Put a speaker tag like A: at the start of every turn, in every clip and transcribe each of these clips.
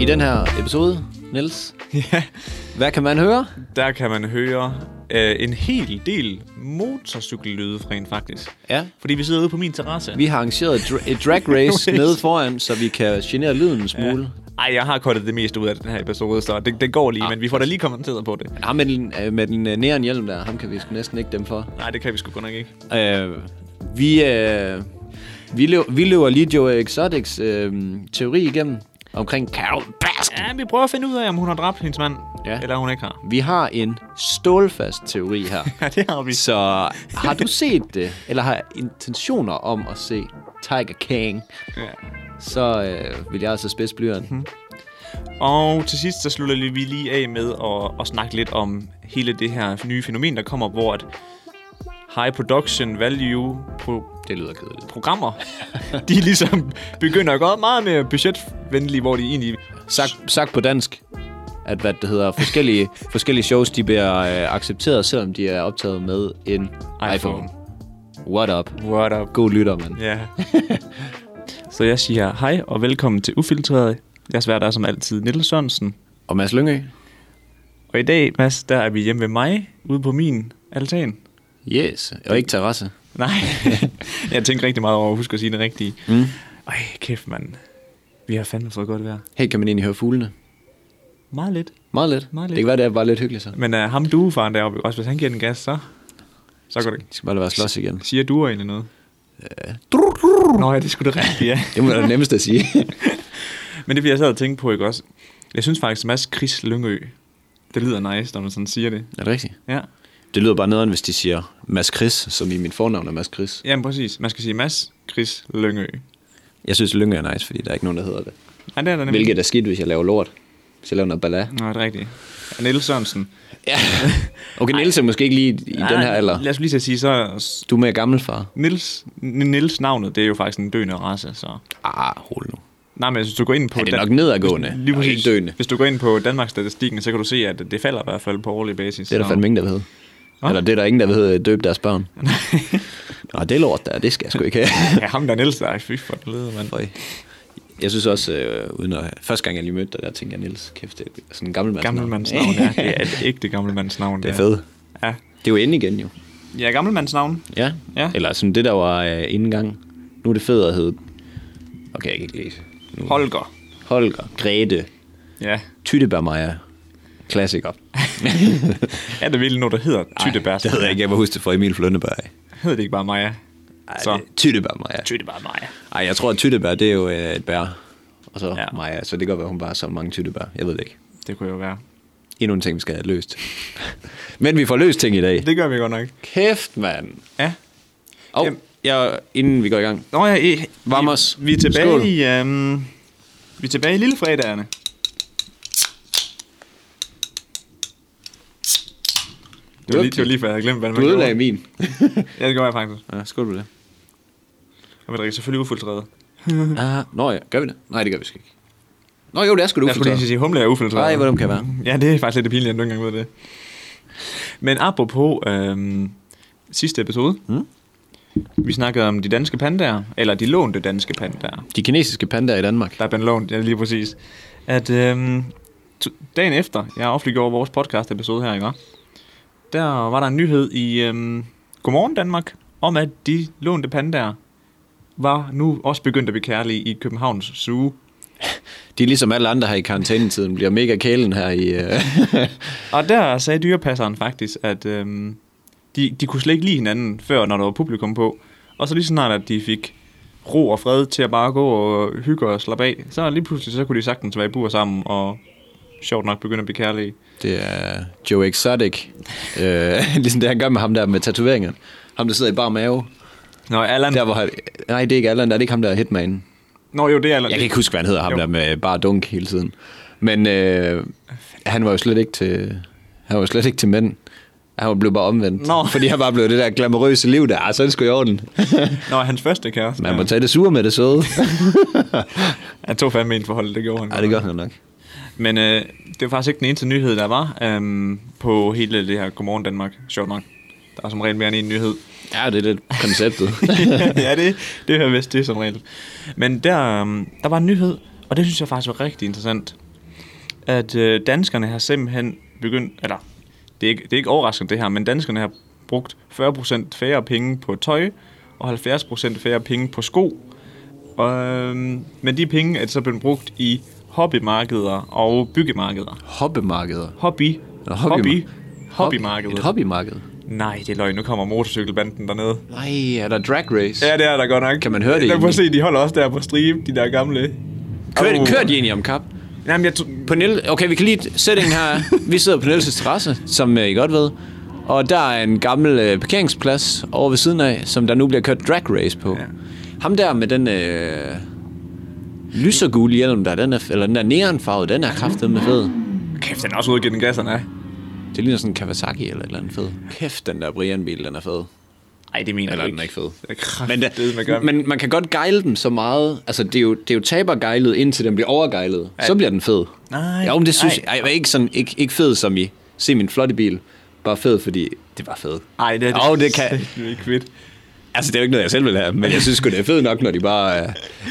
A: I den her episode, Niels,
B: Ja,
A: hvad kan man høre?
B: der kan man høre øh, en hel del motorcykellyde rent faktisk.
A: Ja.
B: Fordi vi sidder ude på min terrasse.
A: Vi har arrangeret et, dra- et drag race nede foran, så vi kan genere lyden en smule.
B: Ej, jeg har kottet det meste ud af den her episode, så det, det går lige, men vi får da lige kommenteret på det.
A: Ja. Ham med den, øh, med den øh, næren hjelm der, ham kan vi sgu næsten ikke dem for.
B: Nej, det kan vi sgu godt nok ikke.
A: Øh, vi, øh, vi, løb, vi løber lige Joe Exotics øh, teori igennem omkring Carol Baskin.
B: Ja, vi prøver at finde ud af, om hun har dræbt hendes mand,
A: Ja.
B: ja. eller hun ikke har.
A: Vi har en stålfast teori her.
B: Ja, det har vi.
A: Så har du set det, eller har intentioner om at se Tiger King,
B: Ja.
A: så øh, vil jeg altså spidse blyanten.
B: Og til sidst, så slutter vi lige af med at, at snakke lidt om hele det her nye fænomen, der kommer, hvor at high production value på
A: Det lyder kedeligt.
B: programmer, de ligesom begynder at gå meget mere budgetvenlige, hvor de egentlig...
A: Sagt, sagt på dansk, at hvad det hedder, forskellige, forskellige shows, de bliver øh, accepteret, selvom de er optaget med en iPhone. iPhone.
B: iPhone.
A: What up?
B: What up?
A: God lytter, mand.
B: Ja. Så jeg siger hej og velkommen til Ufiltreret. Jeg svært er som altid Niels Sørensen.
A: Og Mads Lyngø?
B: Og i dag, Mads, der er vi hjemme ved mig, ude på min altan.
A: Yes. Og ikke terrasse.
B: Nej, jeg tænkte rigtig meget over at huske at sige det rigtige. Mm. Ej, kæft mand. Vi har fandme fået godt vejr.
A: Hey, kan man egentlig høre fuglene?
B: Meget lidt.
A: Meget lidt.
B: Meget
A: Det
B: lidt.
A: kan være, det er bare lidt hyggeligt så.
B: Men uh, ham duefaren deroppe, også hvis han giver den gas, så... Så går det.
A: Det skal bare lade være slås igen.
B: Siger duer egentlig noget? Nå ja, det skulle det rigtigt, ja.
A: Det må være det nemmeste at sige.
B: Men det bliver jeg sad og tænke på, ikke også? Jeg synes faktisk, Mads Chris Lyngø, det lyder nice, når man sådan siger det.
A: er det rigtigt?
B: Ja,
A: Det lyder bare nederen, hvis de siger Mads Chris, som i min fornavn er Mads Chris.
B: Jamen, præcis. Man skal sige Mads Chris Lyngø.
A: Jeg synes, Lyngø er nice, fordi der er ikke nogen, der hedder det.
B: Ja, det er der nemlig.
A: Hvilket er skidt, hvis jeg laver lort. Hvis jeg laver noget ballade.
B: Nå, det er rigtigt. Og Niels Sørensen. Ah,
A: Ja. Okay, Niels er måske ikke lige i den her alder.
B: Lad os lige til at sige, så
A: Du er mere gammel, far.
B: Niels, Niels navnet, det er jo faktisk en døende race, så...
A: Ah, hold nu.
B: Nej, men hvis du går ind på...
A: Er det
B: Dan-
A: nok nedadgående?
B: Lige
A: Og
B: præcis.
A: ikke døende?
B: Hvis du går ind på Danmarks statistikken, så kan du se, at det falder i hvert fald på årlig basis.
A: Det er der
B: så-
A: fandme ingen, der ved.
B: Nå.
A: Eller det er der ingen, der ved øh, døbe deres børn. Nå, det er lort der, det skal jeg sgu ikke have.
B: Ja, ham der Niels, der er fy for det mand.
A: Føj. Jeg synes også, øh, uden at, første gang jeg lige mødte dig, der tænkte jeg, Niels, kæft, det er sådan en gammel mands
B: Gammelmandsnavn, ja. Det er et ægte gammelmandsnavn.
A: Det er
B: der.
A: fedt.
B: Ja.
A: Det er jo inde igen, jo.
B: Ja, gammelmandsnavn.
A: Ja.
B: Ja.
A: Eller sådan det, der var øh, inden gang. Nu er det fedt at hedde... Okay, jeg kan ikke læse. Nu.
B: Holger.
A: Holger, Grete,
B: Ja.
A: Tyttebærmaja. Klassiker.
B: Er det virkelig noget, der hedder Tyttebærs?
A: Det hedder jeg ikke, jeg må huske det fra Emil Flønneberg.
B: Hedder det ikke bare Maja?
A: Ej,
B: Så.
A: det- Tyttebærmaja.
B: Tyttebær Maja.
A: Ej, jeg tror, at tyttebær, det er jo øh, et bær. Og så ja.
B: Ja.
A: Maja, så det kan godt være, hun bare har så mange tyttebær. Jeg ved det ikke.
B: Det kunne jo være.
A: Endnu en ting, vi skal have løst. Men vi får løst ting i dag.
B: Det gør vi godt nok.
A: Kæft, mand.
B: Ja.
A: Og
B: Jamen.
A: jeg, inden vi går i gang.
B: Nå ja, eh,
A: Vamos.
B: Vi, vi er tilbage
A: Skål.
B: i... Øhm, vi er tilbage i Lillefredagerne. Det var, lige, det var lige før, jeg havde glemt, hvad man
A: Du ødelagde
B: gjorde.
A: min.
B: Ja, det gør jeg faktisk.
A: Ja, skål du det.
B: Og vi drikker selvfølgelig ufiltreret.
A: Ah, nå ja, gør vi det? Nej, det gør vi sgu ikke. Nå jo, det er sgu det
B: Jeg skulle lige til at sige, humle er ufiltreret.
A: Nej, hvor dum kan jeg være?
B: Ja, det er faktisk lidt pinligt, at jeg ikke engang ved det. Men apropos øhm, sidste episode.
A: Mm.
B: Vi snakkede om de danske pandaer, eller de lånte danske pandaer.
A: De kinesiske pandaer i Danmark.
B: Der er blevet lånt, ja lige præcis. At øhm, t- dagen efter, jeg offentliggjorde vores podcast episode her, ikke også? Der var der en nyhed i øhm, Godmorgen Danmark, om at de lånte pandaer var nu også begyndt at blive kærlige i Københavns Zoo.
A: De er ligesom alle andre her i karantænetiden, bliver mega kælen her i... Øh...
B: Og der sagde dyrepasseren faktisk, at øhm, de, de kunne slet ikke lide hinanden før, når der var publikum på. Og så lige så snart, at de fik ro og fred til at bare gå og hygge og slappe af, så lige pludselig så kunne de sagtens være i bur sammen og sjovt nok begynde at blive kærlige.
A: Det er Joe Exotic. Øh, ligesom det, han gør med ham der med tatoveringen. Ham, der sidder i bar mave.
B: Nå, Allan.
A: Der, hvor han... Nej, det er ikke Allan, der er det ikke ham, der er Hitman.
B: Nå, jo, det er Allan.
A: Jeg kan ikke huske, hvad han hedder, ham
B: Jo.
A: der med bare dunk hele tiden. Men øh, han var jo slet ikke til... Han var slet ikke til mænd. Han var blevet bare omvendt.
B: Nå.
A: Fordi han bare blev det der glamourøse liv der. Ah, så er det sgu i orden.
B: Nå, hans første kæreste.
A: Man må tage det sure med det søde.
B: Han tog fandme en forhold, det gjorde han.
A: Ja, det gør han jo nok.
B: Men øh, det var faktisk ikke den eneste nyhed, der var øhm, på hele det her Godmorgen Danmark. Sjovt nok. Der er som regel mere end en nyhed.
A: Ja, det er lidt konceptet.
B: ja, det, det hører vist det som regel. Men der, øhm, der var en nyhed, og det synes jeg faktisk var rigtig interessant. At øh, danskerne har simpelthen begyndt... Eller, det er, ikke, det er ikke overraskende det her, men danskerne har brugt 40% færre penge på tøj, og 70% færre penge på sko. Og, øhm, men de penge er så blevet brugt i hobbymarkeder og byggemarkeder.
A: Hobbemarkeder.
B: Hobby.
A: Nå, hobbymar-
B: hobby.
A: Et
B: Hobbymarkedet.
A: hobbymarked.
B: Nej, det er løgn. Nu kommer motorcykelbanden dernede.
A: Nej, er der drag race?
B: Ja, det er der godt nok.
A: Kan man høre det
B: Der må
A: egentlig?
B: se, de holder også der på stribe, de der gamle.
A: Kør,
B: Au.
A: kører de egentlig om kap?
B: Nej, men jeg t-
A: På Niel, okay, vi kan lige sætte her. er. Vi sidder på Niels' terrasse, som øh, I godt ved. Og der er en gammel øh, parkeringsplads over ved siden af, som der nu bliver kørt drag race på.
B: Ja.
A: Ja. Ham der med den øh, lysergule hjelm, der, den er, eller den der neonfarve, den er kraftedeme med fed.
B: Kæft, den er også ude at give den gasserne af.
A: Det ligner sådan en Kawasaki eller et eller andet fed. Kæft, den der Brian-bil, den er fed.
B: Nej, det mener
A: Eller
B: jeg
A: den er ikke fed.
B: Men,
A: Men,
B: det, man gør.
A: da, men man kan godt gejle dem så meget. Altså, det er jo, det er jo tabergejlet, indtil den bliver overgejlet. Så bliver den fed.
B: Nej,
A: Jo, men det synes
B: nej.
A: jeg. Ej, ikke, sådan, ikke, ikke fed som i, se min flotte bil. Bare fed, fordi det var fed.
B: Ej, det er
A: Jo, det kan-
B: Det er ikke fedt.
A: Altså, det er jo ikke noget, jeg selv vil have, men jeg synes sgu, det er fedt nok, når de bare øh,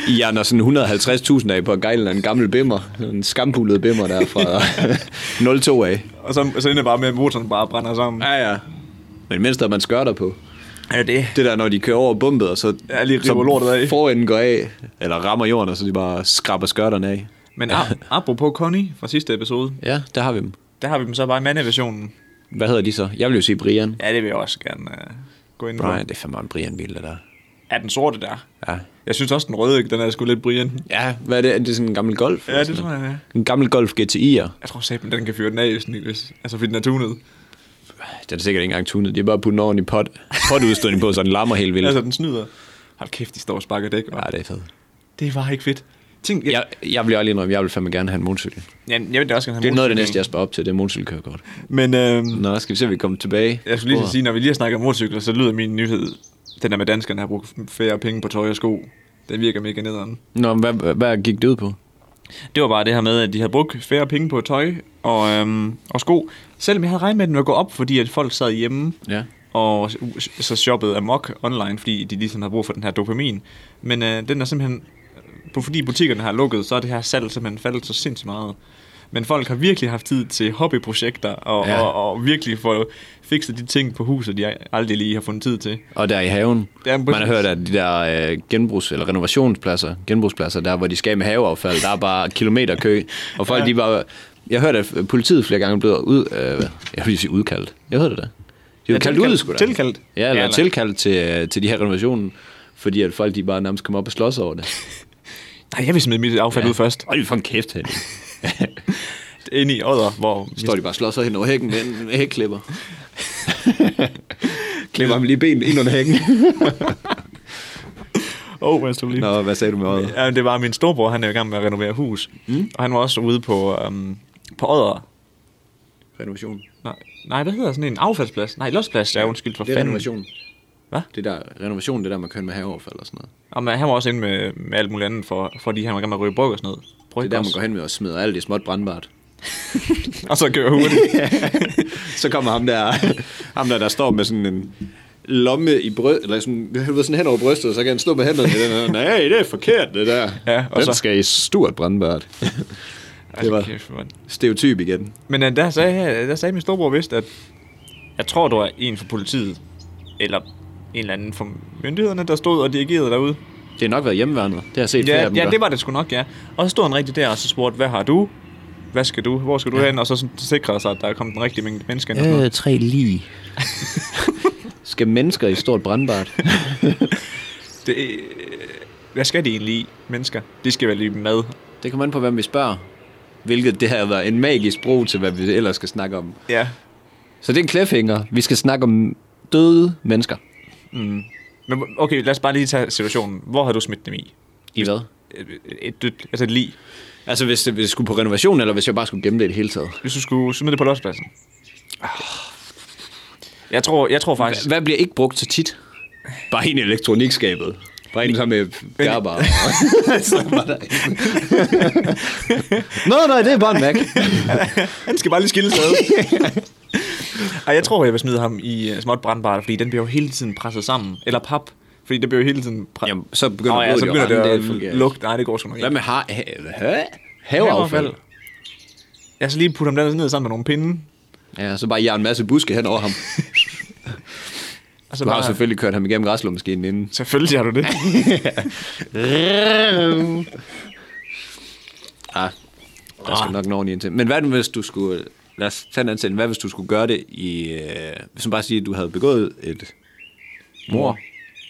A: i jerner sådan 150.000 af på gejlen af en gammel bimmer. En skampulet bimmer der fra 02 af.
B: Og så, så ender det bare med, at motoren bare brænder sammen.
A: Ja, ja. Men mindst, der er man skørter på.
B: Ja, det.
A: Det der, når de kører over bumpet, og så,
B: Ja, lige river
A: så
B: lortet af.
A: forenden går af, eller rammer jorden, og så de bare skraber skørterne af.
B: Men ap- apropos Connie fra sidste episode,
A: Ja, der har vi dem.
B: der har vi dem så bare i mandeversionen.
A: Hvad hedder de så? Jeg vil jo sige Brian.
B: Ja, det vil jeg også gerne uh, gå ind på.
A: Brian, det er fandme en Brian-bil, det der.
B: Er den sorte der?
A: Ja.
B: Jeg synes også, den røde, den er sgu lidt Brian.
A: Ja, hvad er det? Er det sådan en gammel Golf?
B: Ja,
A: eller
B: det
A: sådan
B: tror
A: noget?
B: jeg, ja.
A: En gammel Golf GTI'er.
B: Jeg tror sæben, den kan fyre den af, hvis, den- hvis, altså fordi den er tunet.
A: Den er sikkert ikke engang tunet. De har bare puttet den over i pot, potudstødning på, så den lammer helt vildt.
B: Altså, den snyder. Hold kæft, de står og sparker dæk. Ja.
A: Ja, det er fedt.
B: Det var ikke fedt. Tænk, jeg, ja.
A: Jeg, jeg vil jo lige indrømme, jeg vil fandme gerne have en motorcykel.
B: jeg, jeg vil da også gerne have
A: Det er noget af det Mm.
B: motorcykel.
A: næste, jeg sparer op til, det er motorcykelkørekort.
B: Men øhm,
A: Nå, skal vi se, om vi kommer tilbage.
B: jeg skulle lige til at
A: Sporet.
B: sige, når vi lige har snakket om motorcykler, så lyder min nyhed, den der med danskerne har brugt færre penge på tøj og sko. Det virker mega nederen.
A: Nå, men hvad, hvad gik det ud på?
B: Det var bare det her med, at de havde brugt færre penge på tøj og, øhm, og sko. Selvom jeg havde regnet med, at den ville gå op, fordi at folk sad hjemme
A: Ja.
B: og så shoppede amok online, fordi de ligesom havde brug for den her dopamin. Men øh, den er simpelthen, på- fordi butikkerne har lukket, så er det her salg simpelthen faldet så sindssygt meget. Men folk har virkelig haft tid til hobbyprojekter, og, ja.
A: Ja.
B: og, og virkelig få fikset de ting på huset, de aldrig lige har fundet tid til.
A: Og der i haven.
B: Ja, men
A: man har
B: præcis.
A: hørt, at de der øh, genbrugs- eller renovationspladser, genbrugspladser, der hvor de skal af med haveaffald, der er bare kilometerkø. Og folk, ja. de var... Jeg hørte, at politiet flere gange blev ud... Øh, jeg vil lige sige udkaldt. Jeg hørte det da. De var ja, kaldt ud, sgu da.
B: Tilkaldt.
A: Ja, eller tilkaldt til, øh, til de her renovationer, fordi at folk de bare nærmest kom op og slås over det.
B: Nej, jeg vil smide mit affald ja. ud først.
A: Hold for en kæft, Henning.
B: Inde i Odder, hvor...
A: Står de bare og slås hen over hækken med en hækklipper. Klipper ham lige benet ind under hækken.
B: Åh, oh, hvad stod lige?
A: Nå, hvad sagde du med øjet?
B: Ja, men det var min storebror, han er i gang med at renovere hus. Mm. Og han var også ude på, øhm, på Odder.
A: Renovation.
B: Nej, nej, hvad hedder sådan en affaldsplads? Nej, losplads, ja, undskyld for
A: Det er
B: fanden.
A: renovation.
B: Hvad?
A: Det der renovation, det der med køn med haveoverfald og sådan noget.
B: Og man, han var også inde med, med alt muligt andet, for, fordi han var i gang med at ryge brug og sådan noget. Bryg
A: Det er der, man går hen med og smider alt i småt brandbart.
B: Og så kører hurtigt.
A: Så kommer ham der, ham der, der står med sådan en lomme i bryst, eller sådan, han ved, sådan hen over brystet, og så kan han stå med hænderne i den, og nej, det er forkert, det der.
B: Ja, og
A: den
B: så-
A: skal i stort brandbart. det var
B: Altså, Kæft, mand.
A: stereotyp igen.
B: Men øh, der sagde, der sagde min storebror vist, at jeg tror, du er en fra politiet, eller en eller anden fra myndighederne, der stod og dirigerede derude.
A: Det har nok været hjemmeværnet. Det har jeg set flere af
B: Ja,
A: dem
B: ja
A: gøre.
B: det var det sgu nok, ja. Og så stod han rigtig der og så spurgte, hvad har du? Hvad skal du? Hvor skal du ja. hen? Og så sådan sikrede sig, at der kom den rigtige mængde mennesker ind. og sådan noget.
A: Øh, tre lige. skal mennesker i stort brandbart?
B: Det, øh, hvad skal de egentlig i, mennesker? De skal vel lige mad.
A: Det kommer an på, hvem vi spørger. Hvilket det her var en magisk bro til, hvad vi ellers skal snakke om.
B: Ja.
A: Så det er en cliffhanger. Vi skal snakke om døde mennesker.
B: Men okay, lad os bare lige tage situationen. Hvor har du smidt dem i?
A: I hvad?
B: Et, et, dødt- altså et lig.
A: Altså, hvis, det- hvis jeg skulle på renovation, eller hvis jeg bare skulle gemme det i det hele taget.
B: Hvis du skulle smide det på lospladsen. Jeg tror, jeg tror faktisk...
A: Hvad bliver ikke brugt så tit? Bare en i elektronikskabet. Bare en sammen med Gerber. Så var der en. Nå, nej, det er bare en Mac.
B: Han skal bare lige skille sig ad. Ej, jeg tror, jeg vil smide ham i øh, småt brandbart, fordi den bliver jo hele tiden presset sammen. Eller pap, fordi det bliver jo hele tiden... Pre-
A: Jamen, så begynder
B: Nå, ja, så
A: blodet
B: begynder
A: jo at rende, det
B: det
A: fungerer
B: at
A: ikke.
B: lugte. Nej, det går sgu nok
A: Hvad
B: ikke.
A: med har... ha- ha- haveaffald?
B: Jeg skal lige putte ham dernede ned sammen med nogle pinde.
A: Ja, så bare jeg en masse buske hen over ham.
B: Og så
A: Du har
B: bare,
A: jo selvfølgelig kørt ham igennem græslåmaskinen inden.
B: selvfølgelig har du det.
A: Ah, der skal nok en ordentlig ind til. Men hvad nu, hvis du skulle... Lad os tage en anden sætning. Hvad hvis du skulle gøre det i... Øh, hvis man bare siger, at du havde begået et mor.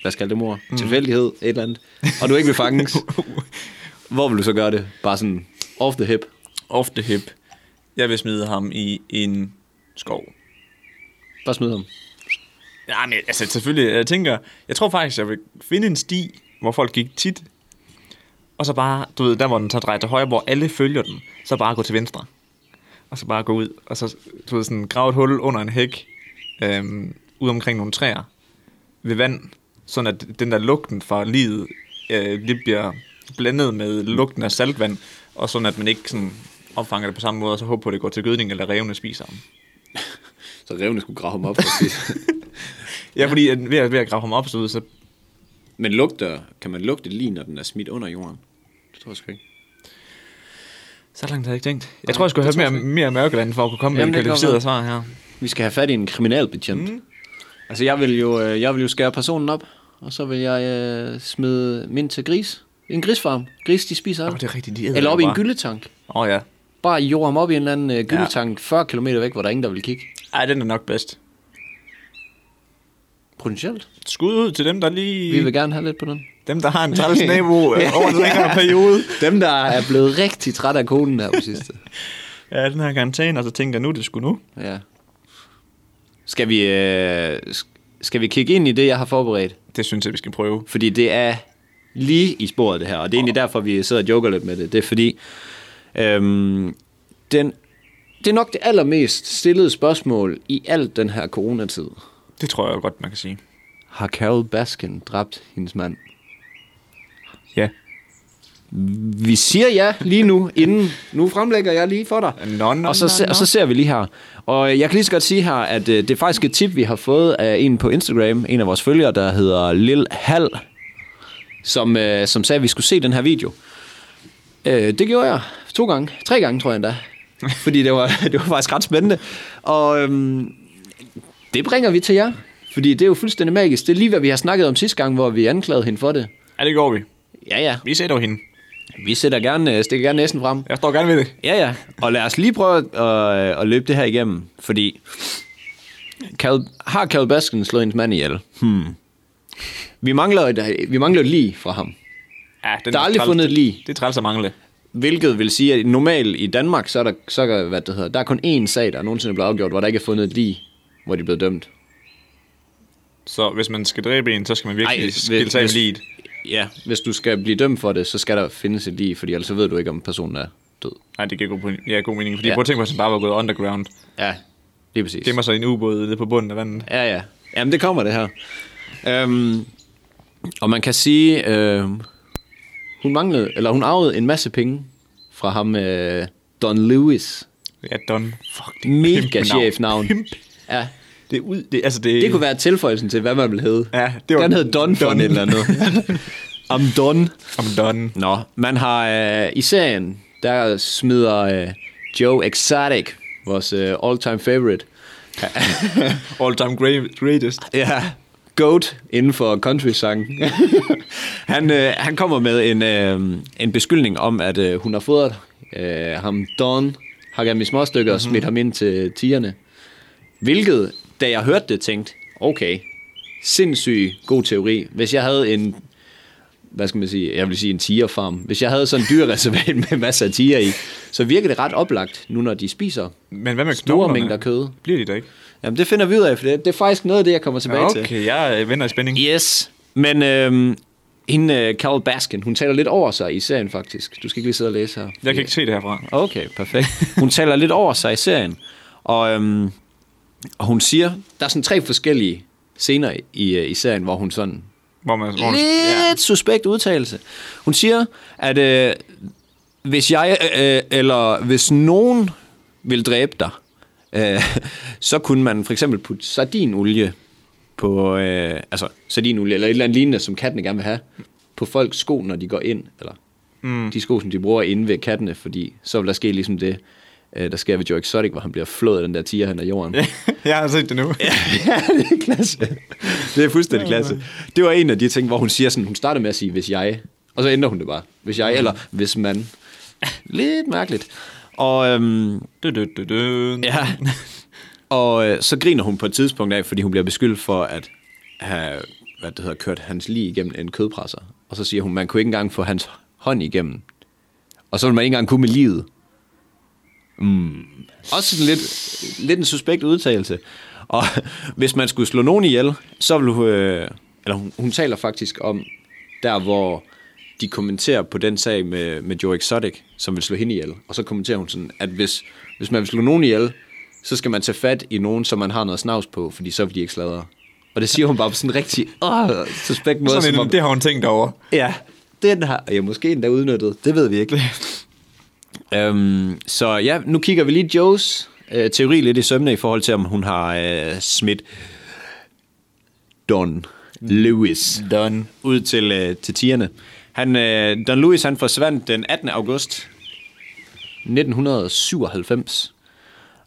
A: Lad os kalde det mor. Mm. Tilfældighed, et eller andet. Og du ikke vil fanges. Hvor vil du så gøre det? Bare sådan off the hip.
B: Off the hip. Jeg vil smide ham i en skov.
A: Bare smid ham.
B: Ja, men altså selvfølgelig, jeg tænker, jeg tror faktisk, jeg vil finde en sti, hvor folk gik tit, og så bare, du ved, der hvor den så drejer til højre, hvor alle følger den, så bare gå til venstre. Og så bare gå ud, og så, du ved, sådan grave et hul under en hæk, øhm, ud omkring nogle træer, ved vand, sådan at den der lugten fra livet, øh, det bliver blandet med lugten af saltvand, og sådan at man ikke sådan opfanger det på samme måde, og så håber på, at det går til gødning, eller revne spiser dem.
A: Så revne skulle grave ham op. præcis.
B: Ja, fordi at ved at, ved at grave ham op, så, ud, så
A: Men lugter, kan man lugte lige, når den er smidt under jorden? Det tror jeg sgu ikke.
B: Så langt havde jeg ikke tænkt. Jeg tror, jeg skulle have mere, mere mørkeland for at kunne komme
A: Jamen,
B: med et
A: det kan
B: kvalificeret svar her.
A: Vi skal have fat i en kriminalbetjent. Mm. Altså, jeg vil, jo, øh, jeg vil jo skære personen op, og så vil jeg øh, smide min til gris. En grisfarm. Gris, de spiser
B: Åh, det
A: alt.
B: er rigtigt, de
A: Eller op i en gyldetank.
B: Åh oh, ja.
A: Bare jord ham op i en eller anden øh, gyldetank 40 km væk, hvor der er ingen, der vil kigge.
B: Ej, den er nok bedst.
A: Potentielt.
B: Skud ud til dem, der
A: Vi
B: lige...
A: vil gerne have lidt på den.
B: Dem, der har en træls nabo øh, over en længere periode.
A: Dem, der er blevet rigtig træt af konen her på sidste.
B: Ja, den her karantæne, og så tænker jeg, nu er det sgu nu.
A: Ja. Skal vi, øh, sk- skal vi kigge ind i det, jeg har forberedt?
B: Det synes jeg, vi skal prøve.
A: Fordi det er lige i sporet, det her. Og det er egentlig derfor, vi sidder og joker lidt med det. Det er fordi, øhm, den, det er nok det allermest stillede spørgsmål i alt den her coronatid.
B: Det tror jeg godt, man kan sige.
A: Har Carol Baskin dræbt hendes mand?
B: Ja.
A: Vi siger ja lige nu, inden nu fremlægger jeg lige for dig.
B: Nå, nå,
A: og, så,
B: nå,
A: se-
B: nå.
A: og så ser vi lige her. Og øh, jeg kan lige så godt sige her, at øh, det er faktisk et tip, vi har fået af en på Instagram, en af vores følgere, der hedder Lil Hal, som, øh, som sagde, at vi skulle se den her video. Øh, det gjorde jeg to gange, tre gange tror jeg endda, fordi det var, det var faktisk ret spændende. Og øhm, det bringer vi til jer, fordi det er jo fuldstændig magisk. Det er lige, hvad vi har snakket om sidste gang, hvor vi anklagede hende for det.
B: Ja, det går vi.
A: Ja, ja.
B: Vi ser dog hende.
A: Vi sætter gerne, øh, stikker gerne næsen frem.
B: Jeg står gerne ved det.
A: Ja, ja. Og lad os lige prøve at, øh, at, at løbe det her igennem, fordi Carol, har Carol Baskin slået hendes mand ihjel? Hmm. Vi mangler et, vi mangler et lige fra ham.
B: Ja, den
A: Der er aldrig
B: træls-
A: fundet et lig.
B: Det er træls at mangle.
A: Hvilket vil sige, at normalt i Danmark, så er der, så er, hvad det hedder, der er kun én sag, der nogensinde er blevet afgjort, hvor der ikke er fundet et lige, hvor de er blevet dømt.
B: Så hvis man skal dræbe en, så skal man
A: Ej,
B: virkelig
A: hvis-
B: skille sig af
A: hvis-
B: lead.
A: Ja, hvis du skal blive dømt for det, så skal der findes et lige, fordi ellers så ved du ikke, om personen er død.
B: Nej, det giver god, poin- ja, god mening. Fordi
A: Ja.
B: ja. prøv at tænke på, hvis den bare var gået underground.
A: Ja, lige præcis.
B: Gemmer sig i en ubåd nede på bunden af vandet.
A: Ja, ja. Jamen, det kommer det her. Øhm, og man kan sige, øhm, hun manglede, eller hun arvede en masse penge fra ham, øh, Don Lewis.
B: Ja, Don. Fuck, det er et
A: Mega
B: kæmpe
A: chefnavn.
B: Pimp.
A: Ja,
B: Det er ud, det, altså det,
A: det kunne være tilføjelsen til, hvad man ville hedde.
B: Ja, det var-
A: Den hed Don, for
B: Don.
A: en eller andet. Om Don.
B: I'm done.
A: Nå, man har øh, i serien, der smider øh, Joe Exotic, vores øh, all-time favorite,
B: All time great, greatest.
A: Ja, Goat inden for country-sang. han, øh, han kommer med en, øh, en beskyldning om, at øh, hun har fodret øh, ham Don, hakket ham i småstykker mm-hmm. og smidt ham ind til tigerne. Hvilket, da jeg hørte det, tænkte, okay, sindssyg god teori. Hvis jeg havde en, hvad skal man sige, jeg vil sige en tigerfarm. Hvis jeg havde sådan en dyrereservat med masser af tiger i, så virker det ret oplagt, nu når de spiser
B: Men hvad med
A: store
B: knoglerne?
A: mængder kød.
B: Bliver de der ikke?
A: Jamen det finder vi ud af, for det, det er faktisk noget af det, jeg kommer tilbage til.
B: Okay, jeg øh, venter i spænding.
A: Yes, men øhm, hende, øh, Carol Baskin, hun taler lidt over sig i serien faktisk. Du skal ikke lige sidde og læse her.
B: Jeg kan ikke se det herfra.
A: Okay, perfekt. Hun taler lidt over sig i serien, og, øhm, og hun siger, der er sådan tre forskellige scener i, øh, i serien, hvor hun sådan
B: Hvor man, hvor man, ja.
A: lidt suspekt udtalelse. Hun siger, at øh, hvis jeg, øh, øh, eller hvis nogen vil dræbe dig, øh, så kunne man for eksempel putte sardinolie på, øh, altså sardinolie eller et eller andet lignende, som kattene gerne vil have, på folks sko, når de går ind, eller mm. de sko, som de bruger inde ved kattene, fordi så vil der ske ligesom det, øh, der sker ved Joe Exotic, hvor han bliver flået af den der tiger hen ad jorden.
B: jeg har set det nu.
A: Ja, det er klasse. Det er fuldstændig klasse. Det var en af de ting, hvor hun siger sådan, hun starter med at sige, hvis jeg, og så ændrer hun det bare. Hvis jeg, eller hvis man. Lidt mærkeligt. Og, øhm,
B: Du, du, du, du.
A: ja. og øh, så griner hun på et tidspunkt af, fordi hun bliver beskyldt for at have hvad det hedder, kørt hans lige igennem en kødpresser. Og så siger hun, man kunne ikke engang få hans hånd igennem. Og så vil man ikke engang kunne med livet. Mm. Også sådan lidt, lidt en suspekt udtalelse. Og hvis man skulle slå nogen ihjel, så ville hun... Øh, eller hun, hun taler faktisk om der, hvor de kommenterer på den sag med, med Joe Exotic, som vil slå hende ihjel. Og så kommenterer hun sådan, at hvis, hvis man vil slå nogen ihjel, så skal man tage fat i nogen, som man har noget snavs på, fordi så vil de ikke sladre. Og det siger hun bare på sådan en rigtig åh, suspekt måde.
B: Sådan
A: som om-
B: en, det har hun tænkt over.
A: Ja, den har jeg måske endda udnyttet. Det ved vi ikke. øhm, så ja, nu kigger vi lige Joes øh, teori lidt i sømne i forhold til, om hun har øh, smidt Don Lewis
B: Done.
A: ud til, øh, til tierne. Han, øh, Don Lewis han forsvandt den 18. august 1997.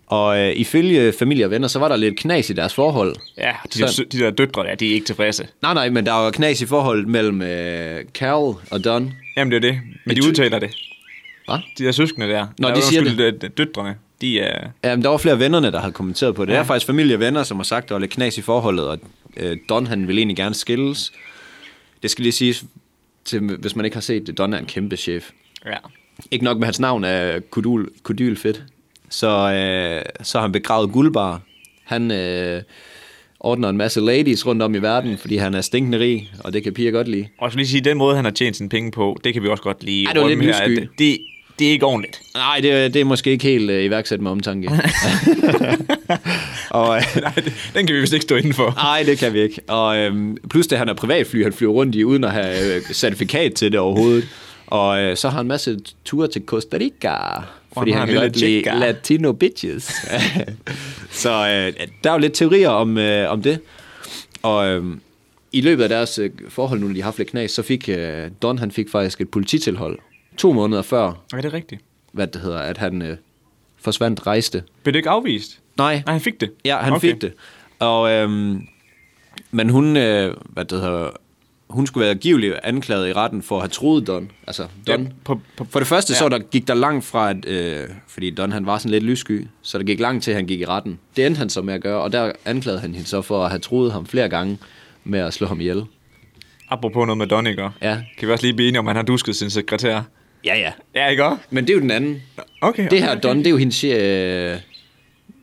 A: Og øh, ifølge familie og venner, så var der lidt knas i deres forhold.
B: Ja, de der, sø- de der døtre der, de er ikke tilfredse.
A: Nej, nej, men der var knas i forhold mellem øh, Carol og Don.
B: Jamen det er det, men de
A: Et-
B: udtaler det.
A: Hvad?
B: De der søskende der.
A: Nå,
B: der
A: de siger
B: det. Døtrene, de er...
A: Ja, men der var flere af vennerne, der havde kommenteret på det. Ja. Der er faktisk familie og venner, som har sagt, at der var lidt knas i forholdet, og øh, Don han ville egentlig gerne skilles. Det skal lige siges, til, hvis man ikke har set det, Don er en kæmpe chef.
B: Ja.
A: Ikke nok med hans navn er kudul, kudul fedt. Så, øh, så har han begravet guldbar. Han øh, ordner en masse ladies rundt om i verden, fordi han er stinkende rig, og det kan piger godt lide.
B: Og jeg skal lige sige, den måde, han har tjent sine penge på, det kan vi også godt lige
A: Ej, det var
B: rumme
A: lidt
B: her, at
A: lyssky.
B: Det, det er ikke ordentligt.
A: Nej, det, det er måske ikke helt øh, iværksat med omtanke. og, øh,
B: Nej, det, den kan vi vist ikke stå indenfor.
A: Nej, det kan vi ikke. Og øhm, plus det, han er privatfly, han flyver rundt i, uden at have øh, certifikat til det overhovedet. Og øh, så har han en masse ture til Costa Rica, fordi
B: har
A: han
B: en
A: kan
B: lille
A: godt lide
B: chica.
A: latino bitches. så øh, der er jo lidt teorier om, øh, om det. Og øh, i løbet af deres øh, forhold, nu de har haft lidt knas, så fik øh, Don han fik faktisk et polititilhold to måneder før,
B: Er det rigtigt?
A: hvad det hedder, at han øh, forsvandt, rejste.
B: Blev det ikke afvist?
A: Nej,
B: Nej, han fik det.
A: Ja, han okay. fik det. Og, øhm, men hun, øh, hvad det hedder, hun skulle være angiveligt anklaget i retten for at have troet Don. Altså, Don.
B: Ja, på- på-
A: for det første ja.
B: ja.
A: så der, gik der langt fra, at, øh, fordi Don han var sådan lidt lyssky, så der gik langt til, at han gik i retten. Det endte han så med at gøre, og der anklagede han hende så for at have troet ham flere gange med at slå ham ihjel.
B: Apropos noget med Donninger.
A: Ja.
B: Kan vi også lige blive enige om, at han har dusket sin sekretær?
A: Ja, ja.
B: Ja, ikke også?
A: Men det er jo den anden.
B: Okay.
A: Det her
B: okay.
A: Don, det er jo hendes... Øh,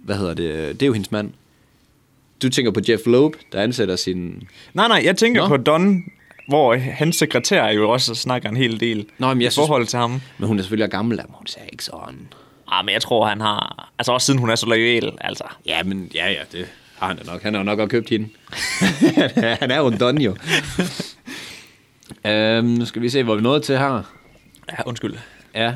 A: hvad hedder det? Det er jo hendes mand. Du tænker på Jeff Loeb, der ansætter sin
B: Nej, nej, jeg tænker
A: Nå.
B: Nå. på Don, hvor hans sekretær jo også snakker en hel del
A: Nå, men jeg
B: i
A: synes-
B: forhold til ham.
A: Men hun er selvfølgelig gammel, men hun ser ikke sådan.
B: Ah, men jeg tror, han har... Altså også siden hun er så lojal, altså.
A: Ja, men ja, ja, det har han da nok. Han har jo nok også købt hende. han er jo en don, jo. øhm, nu skal vi se, hvor vi nåede til her.
B: Ja, undskyld.
A: Ja.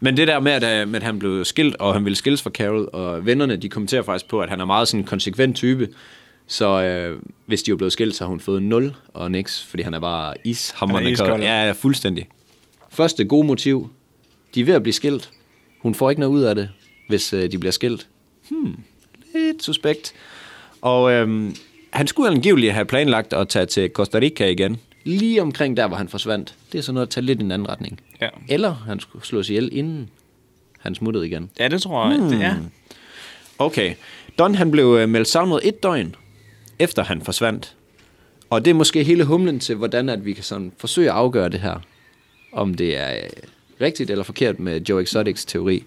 A: Men det der med, at, øh, med, at han blev skilt, og han ville skilles fra Carol, og vennerne, de kommenterer faktisk på, at han er meget sådan en konsekvent type. Så øh, hvis de var blevet skilt, så har hun fået 0 og niks, fordi han er bare ishammerende.
B: Han er
A: kold.
B: iskold.
A: ja, ja, fuldstændig. Første gode motiv. De er ved at blive skilt. Hun får ikke noget ud af det, hvis øh, de bliver skilt. Hmm, lidt suspekt. Og øhm, han skulle angiveligt have planlagt at tage til Costa Rica igen. Lige omkring der, hvor han forsvandt. Det er sådan noget at tage lidt i en anden retning.
B: Ja.
A: Eller han skulle slås ihjel, inden han smuttede igen.
B: Ja, det tror jeg. Hmm. Det er.
A: Okay. Don han blev øh, meldt savnet et døgn, efter han forsvandt. Og det er måske hele humlen til, hvordan at vi kan sådan forsøge at afgøre det her. Om det er øh, rigtigt eller forkert med Joe Exotics teori.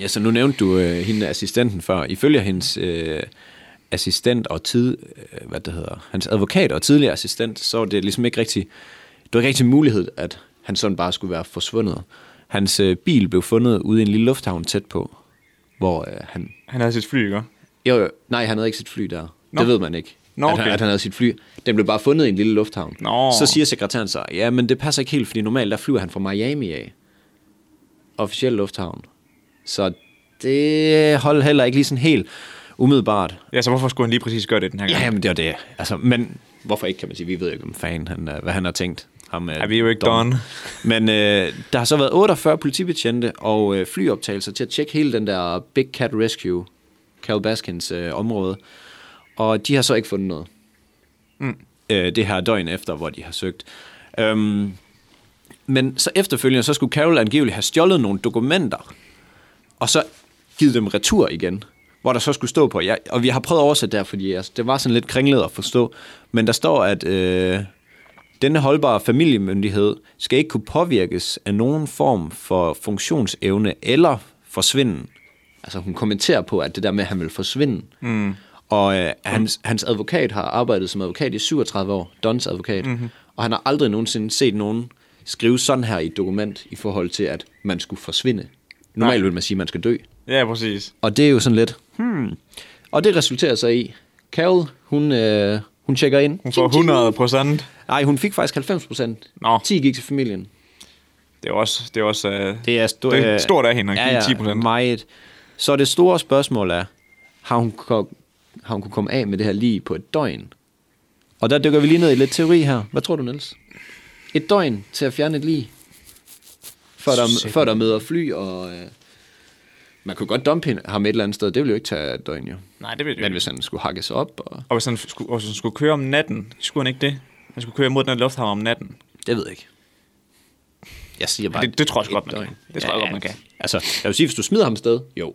A: Ja, så nu nævnte du øh, hende assistenten før. Ifølge hendes øh, assistent og tid, øh, hvad det hedder, hans advokat og tidligere assistent, så var det ligesom ikke rigtig, det var ikke rigtig en mulighed, at han sådan bare skulle være forsvundet. Hans øh, bil blev fundet ude i en lille lufthavn tæt på, hvor øh, han
B: Han havde sit fly, ikke?
A: jo, jo. Nej, han havde ikke sit fly der. Nå.
B: Nå.
A: Det ved man ikke.
B: Nå,
A: at, han,
B: okay.
A: at han havde sit fly. Den blev bare fundet i en lille lufthavn.
B: Nå.
A: Så siger sekretæren så, ja, men det passer ikke helt, fordi normalt der flyver han fra Miami af. Officiel lufthavn. Så det holdt heller ikke lige sådan helt umiddelbart.
B: Ja, så hvorfor skulle han lige præcis gøre det den her gang?
A: Ja, men det var det. Altså, men hvorfor ikke, kan man sige. Vi ved jo ikke, om fanden han, øh, hvad han har tænkt. Ham,
B: Ja, vi er jo ikke done.
A: Men øh, der har så været 48 politibetjente og øh, flyoptagelser til at tjekke hele den der Big Cat Rescue, Carol Baskins øh, område. Og de har så ikke fundet noget. Mm. Øh, det her døgn efter, hvor de har søgt. Øhm, men så efterfølgende, så skulle Carol angiveligt have stjålet nogle dokumenter, og så givet dem retur igen, hvor der så skulle stå på, ja, og vi har prøvet at oversætte det her, fordi altså, det var sådan lidt kringlet at forstå, men der står, at øh, denne holdbare familiemyndighed skal ikke kunne påvirkes af nogen form for funktionsevne eller forsvinden. Altså hun kommenterer på, at det der med, at han vil forsvinde. Mm. Og øh, hans, hans advokat har arbejdet som advokat i 37 år, Dons advokat,
B: Mhm.
A: mm-hmm. og han har aldrig nogensinde set nogen skrive sådan her i et dokument i forhold til, at man skulle forsvinde. Normalt vil man sige, at man skal dø.
B: Ja, præcis.
A: Og det er jo sådan lidt, hmm. Og det resulterer så i, Carol, hun, øh, hun tjekker ind.
B: Hun får 100 procent.
A: Nej, hun fik faktisk 90 procent.
B: Nå.
A: 10 gik til familien.
B: Det er også... Det er også øh,
A: Det er, sto-
B: Det er stort af hende at give
A: ja,
B: 10%.
A: Meget. Så det store spørgsmål er, har hun, ko- har hun kunne komme af med det her lige på et døgn? Og der dykker vi lige ned i lidt teori her. Hvad tror du, Niels? Et døgn til at fjerne et lige, før der, før der møder fly, og øh, man kunne godt dumpe hende- ham et eller andet sted. Det ville jo ikke tage et døgn, jo.
B: Nej, det ved jeg
A: Men
B: ikke.
A: hvis han skulle hakkes op, og...
B: Og hvis han skulle, og hvis han skulle køre om natten, skulle han ikke det? Han skulle køre mod den her lufthavn om natten.
A: Det ved jeg ikke. Jeg siger bare...
B: Det- det tror jeg også
A: et
B: godt, man
A: døgn.
B: kan. Det tror jeg godt, man kan.
A: Altså, jeg vil sige, hvis du smider ham sted, jo.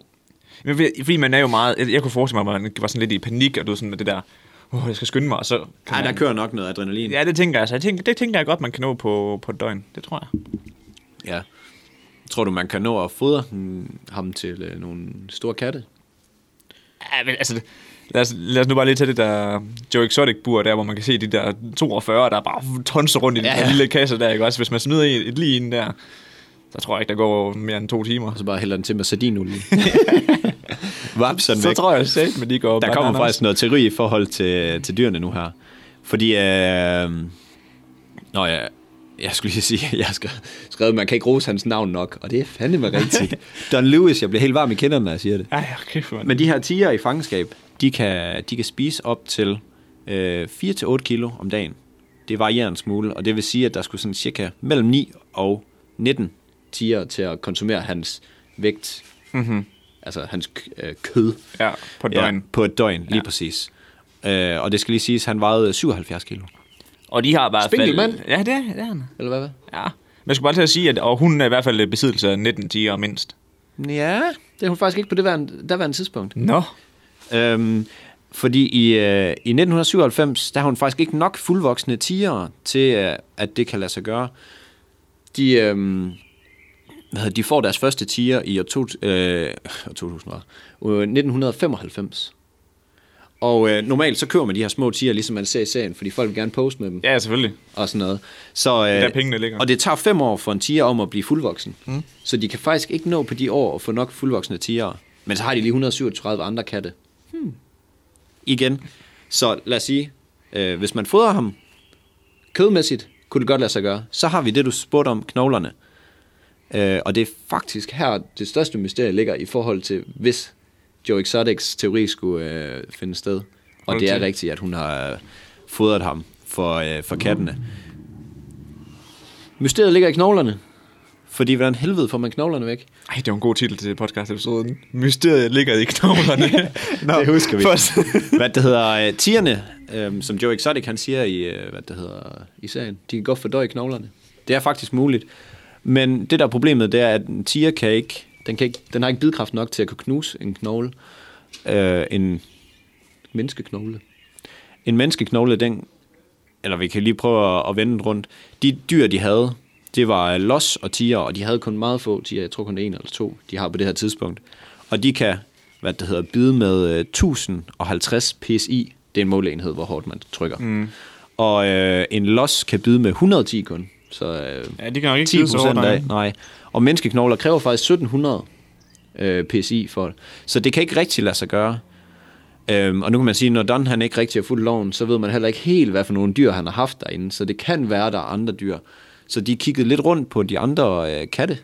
B: Men ved- Fordi man er jo meget... Jeg, jeg kunne forestille mig, at man var sådan lidt i panik, og du ved, sådan med det der... Åh, jeg skal skynde mig, og så... kan
A: Nej,
B: man-
A: der kører nok noget adrenalin.
B: Ja, det tænker jeg. Så jeg tænker, det tænker jeg godt, man kan nå på, på et døgn. Det tror jeg.
A: Ja. Tror du, man kan nå at fodre den- ham til øh, nogle store katte?
B: Ja, men altså, lad os, lad os nu bare lige tage det der Joe Exotic-bur der, hvor man kan se de der 42, der bare tonser rundt i den
A: Ja,
B: ja,
A: ja.
B: ja. lille kasse der, ikke også? Hvis man smider et, et lige ind der, så tror jeg ikke, der går mere end to timer.
A: Og så bare hælder den til med sardinolie. Vaps, sådan
B: Så
A: væk.
B: tror jeg selv, men de går
A: Der kommer
B: bananas.
A: faktisk noget teori i forhold til, til dyrene nu her. Fordi, øh, nå ja, jeg skulle lige sige, jeg har skrevet, man kan ikke rose hans navn nok, og det er fandeme rigtigt. Don Lewis, jeg bliver helt varm i kinderne, når jeg siger det.
B: Ej, okay, mand.
A: Men de her tiger i fangenskab, de kan, de kan spise op til øh, 4-8 kilo om dagen. Det varierer en smule, og det vil sige, at der skulle sådan cirka mellem 9 og 19 tiger til at konsumere hans vægt. Mm-hmm. Altså hans k- øh, kød.
B: Mhm. Ja, på et døgn.
A: på et døgn, lige ja. præcis. Øh, og det skal lige siges, at han vejede 77 kilo.
B: Og de har bare
A: Spinkel mand.
B: Ja, det er, det er han.
A: Eller hvad? hvad?
B: Ja. Men jeg skulle bare til at sige, at og hun er i hvert fald i besiddelse af 19 tiger mindst.
A: Ja, det er hun faktisk ikke på det værende, der værende tidspunkt.
B: Nå.
A: Øhm, fordi i, øh, i 1997, der har hun faktisk ikke nok fuldvoksne tiger til, øh, at det kan lade sig gøre. De, øhm, hvad hedder, de får deres første tiger i år, to, øh, år 2000, var det, øh, 1995. Og øh, normalt så kører man de her små tiger, ligesom man ser i serien, fordi folk vil gerne poste med dem
B: Ja, selvfølgelig.
A: og sådan noget. Så, øh,
B: der pengene ligger.
A: Og det tager fem år for en tiger om at blive fuldvoksen. Mm. Så de kan faktisk ikke nå på de år at få nok fuldvoksne tiger. Men så har de lige 137 andre katte. Hmm. Igen. Så lad os sige, øh, hvis man fodrer ham kødmæssigt, kunne det godt lade sig gøre. Så har vi det, du spurgte om, knoglerne. Øh, og det er faktisk her, det største mysterie ligger i forhold til, hvis Joe Exotics teori skulle øh, finde sted. Og
B: Hold
A: det er
B: til.
A: rigtigt, at hun har øh, fodret ham for, øh, for kattene. Mysteriet ligger i knoglerne. Fordi hvordan helvede får man knoglerne væk?
B: Ej, det var en god titel til podcast-episoden. Mysteriet ligger i knoglerne. Nå, Først.
A: hvad det hedder, øh, tierne, øh, som Joe Exotic han siger i, øh, hvad det hedder, i serien, de kan godt fordøje knoglerne. Det er faktisk muligt. Men det der er problemet, det er, at en tiger kan ikke, den, kan ikke, den har ikke bidkraft nok til at kunne knuse en knogle. Øh, en menneskeknogle. En menneskeknogle, den, eller vi kan lige prøve at, at vende den rundt. De dyr, de havde, det var øh, los og tiger, og de havde kun meget få tiger. Jeg tror kun det er en eller to, de har på det her tidspunkt. Og de kan, hvad det hedder, bide med øh, 1050 psi. Det er en måleenhed, hvor hårdt man trykker. Mm. Og øh, en los kan bide med 110 kun. Så øh,
B: Ja, de kan nok ikke
A: 10
B: bide så
A: procent
B: hårdt, nej.
A: af. Nej. Og menneskeknogler kræver faktisk 1700 øh, PSI for det. Så det kan ikke rigtig lade sig gøre. Øhm, og nu kan man sige, når Don han ikke rigtig har fulgt loven, så ved man heller ikke helt, hvad for nogle dyr han har haft derinde. Så det kan være, der er andre dyr. Så de kiggede lidt rundt på de andre øh, katte,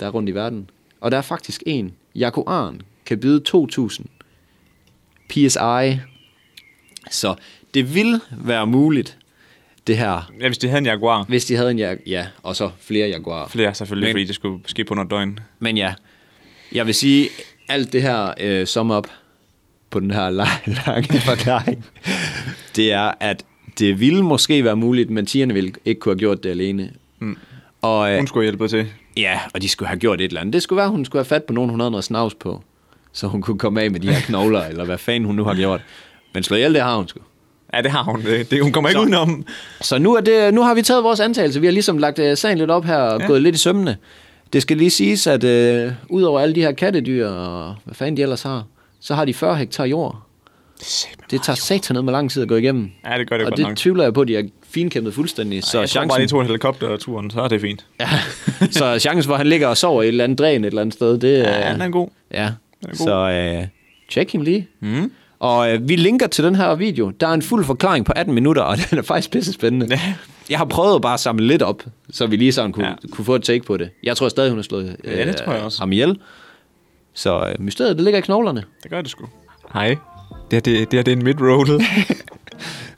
A: der er rundt i verden. Og der er faktisk en. Jaguaren kan bide 2000 PSI. Så det vil være muligt, det her,
B: Ja, hvis det havde en jaguar.
A: hvis de havde en jag- ja, og så flere jaguarer.
B: Flere selvfølgelig,
A: Men-
B: Men... fordi det skulle ske på under et døgn.
A: Men ja, jeg vil sige, alt det her øh, sum op på den her lange, lange forklaring, det er, at det ville måske være muligt, men tigerne ville ikke kunne have gjort det alene. Mm. Og, øh,
B: Hun skulle hjælpe til.
A: ja, og de skulle have gjort et eller andet. Det skulle være, at hun skulle have fat på nogen, hun havde noget snavs på, så hun kunne komme af med de her knogler, eller hvad fanden hun nu har gjort. Men slå ihjel, det har hun sgu.
B: Ja, det har hun. Det, det, hun kommer ikke udenom.
A: Så nu, er det, nu har vi taget vores antagelse. Vi har ligesom lagt øh, sagen lidt op her og ja. gået lidt i sømmene. Det skal lige siges, at øh, udover alle de her kattedyr og hvad fanden de ellers har, så har de 40 hektar jord. Det tager satan ned med lang tid at gå igennem.
B: Ah, Ja, det gør det
A: og
B: godt
A: det
B: nok.
A: tvivler jeg på, at de er finkæmpet fuldstændig. så,
B: Så jeg tror
A: chancen,
B: bare, de tog en helikopterturen, så er det fint.
A: ja, så chancen for, at han ligger og sover i et eller andet dræn et eller andet sted, det øh,
B: Ja,
A: er...
B: den er god.
A: Ja,
B: Den er god.
A: så øh, tjek hende lige. Mm. Og øh, vi linker til den her video. Der er en fuld forklaring på 18 minutter, og den er faktisk pisse spændende.
B: Ja.
A: Jeg har prøvet bare at samle lidt op, så vi lige sådan kunne, ja.
B: Ja.
A: kunne få et take på det. Jeg tror stadig, hun har slået øh,
B: Ja, det tror jeg også.
A: ham ihjel. Så øh, mysteriet, det ligger i knoglerne.
B: Det gør det sgu. Hej. Det her, det, det, her, det er en mid-roll.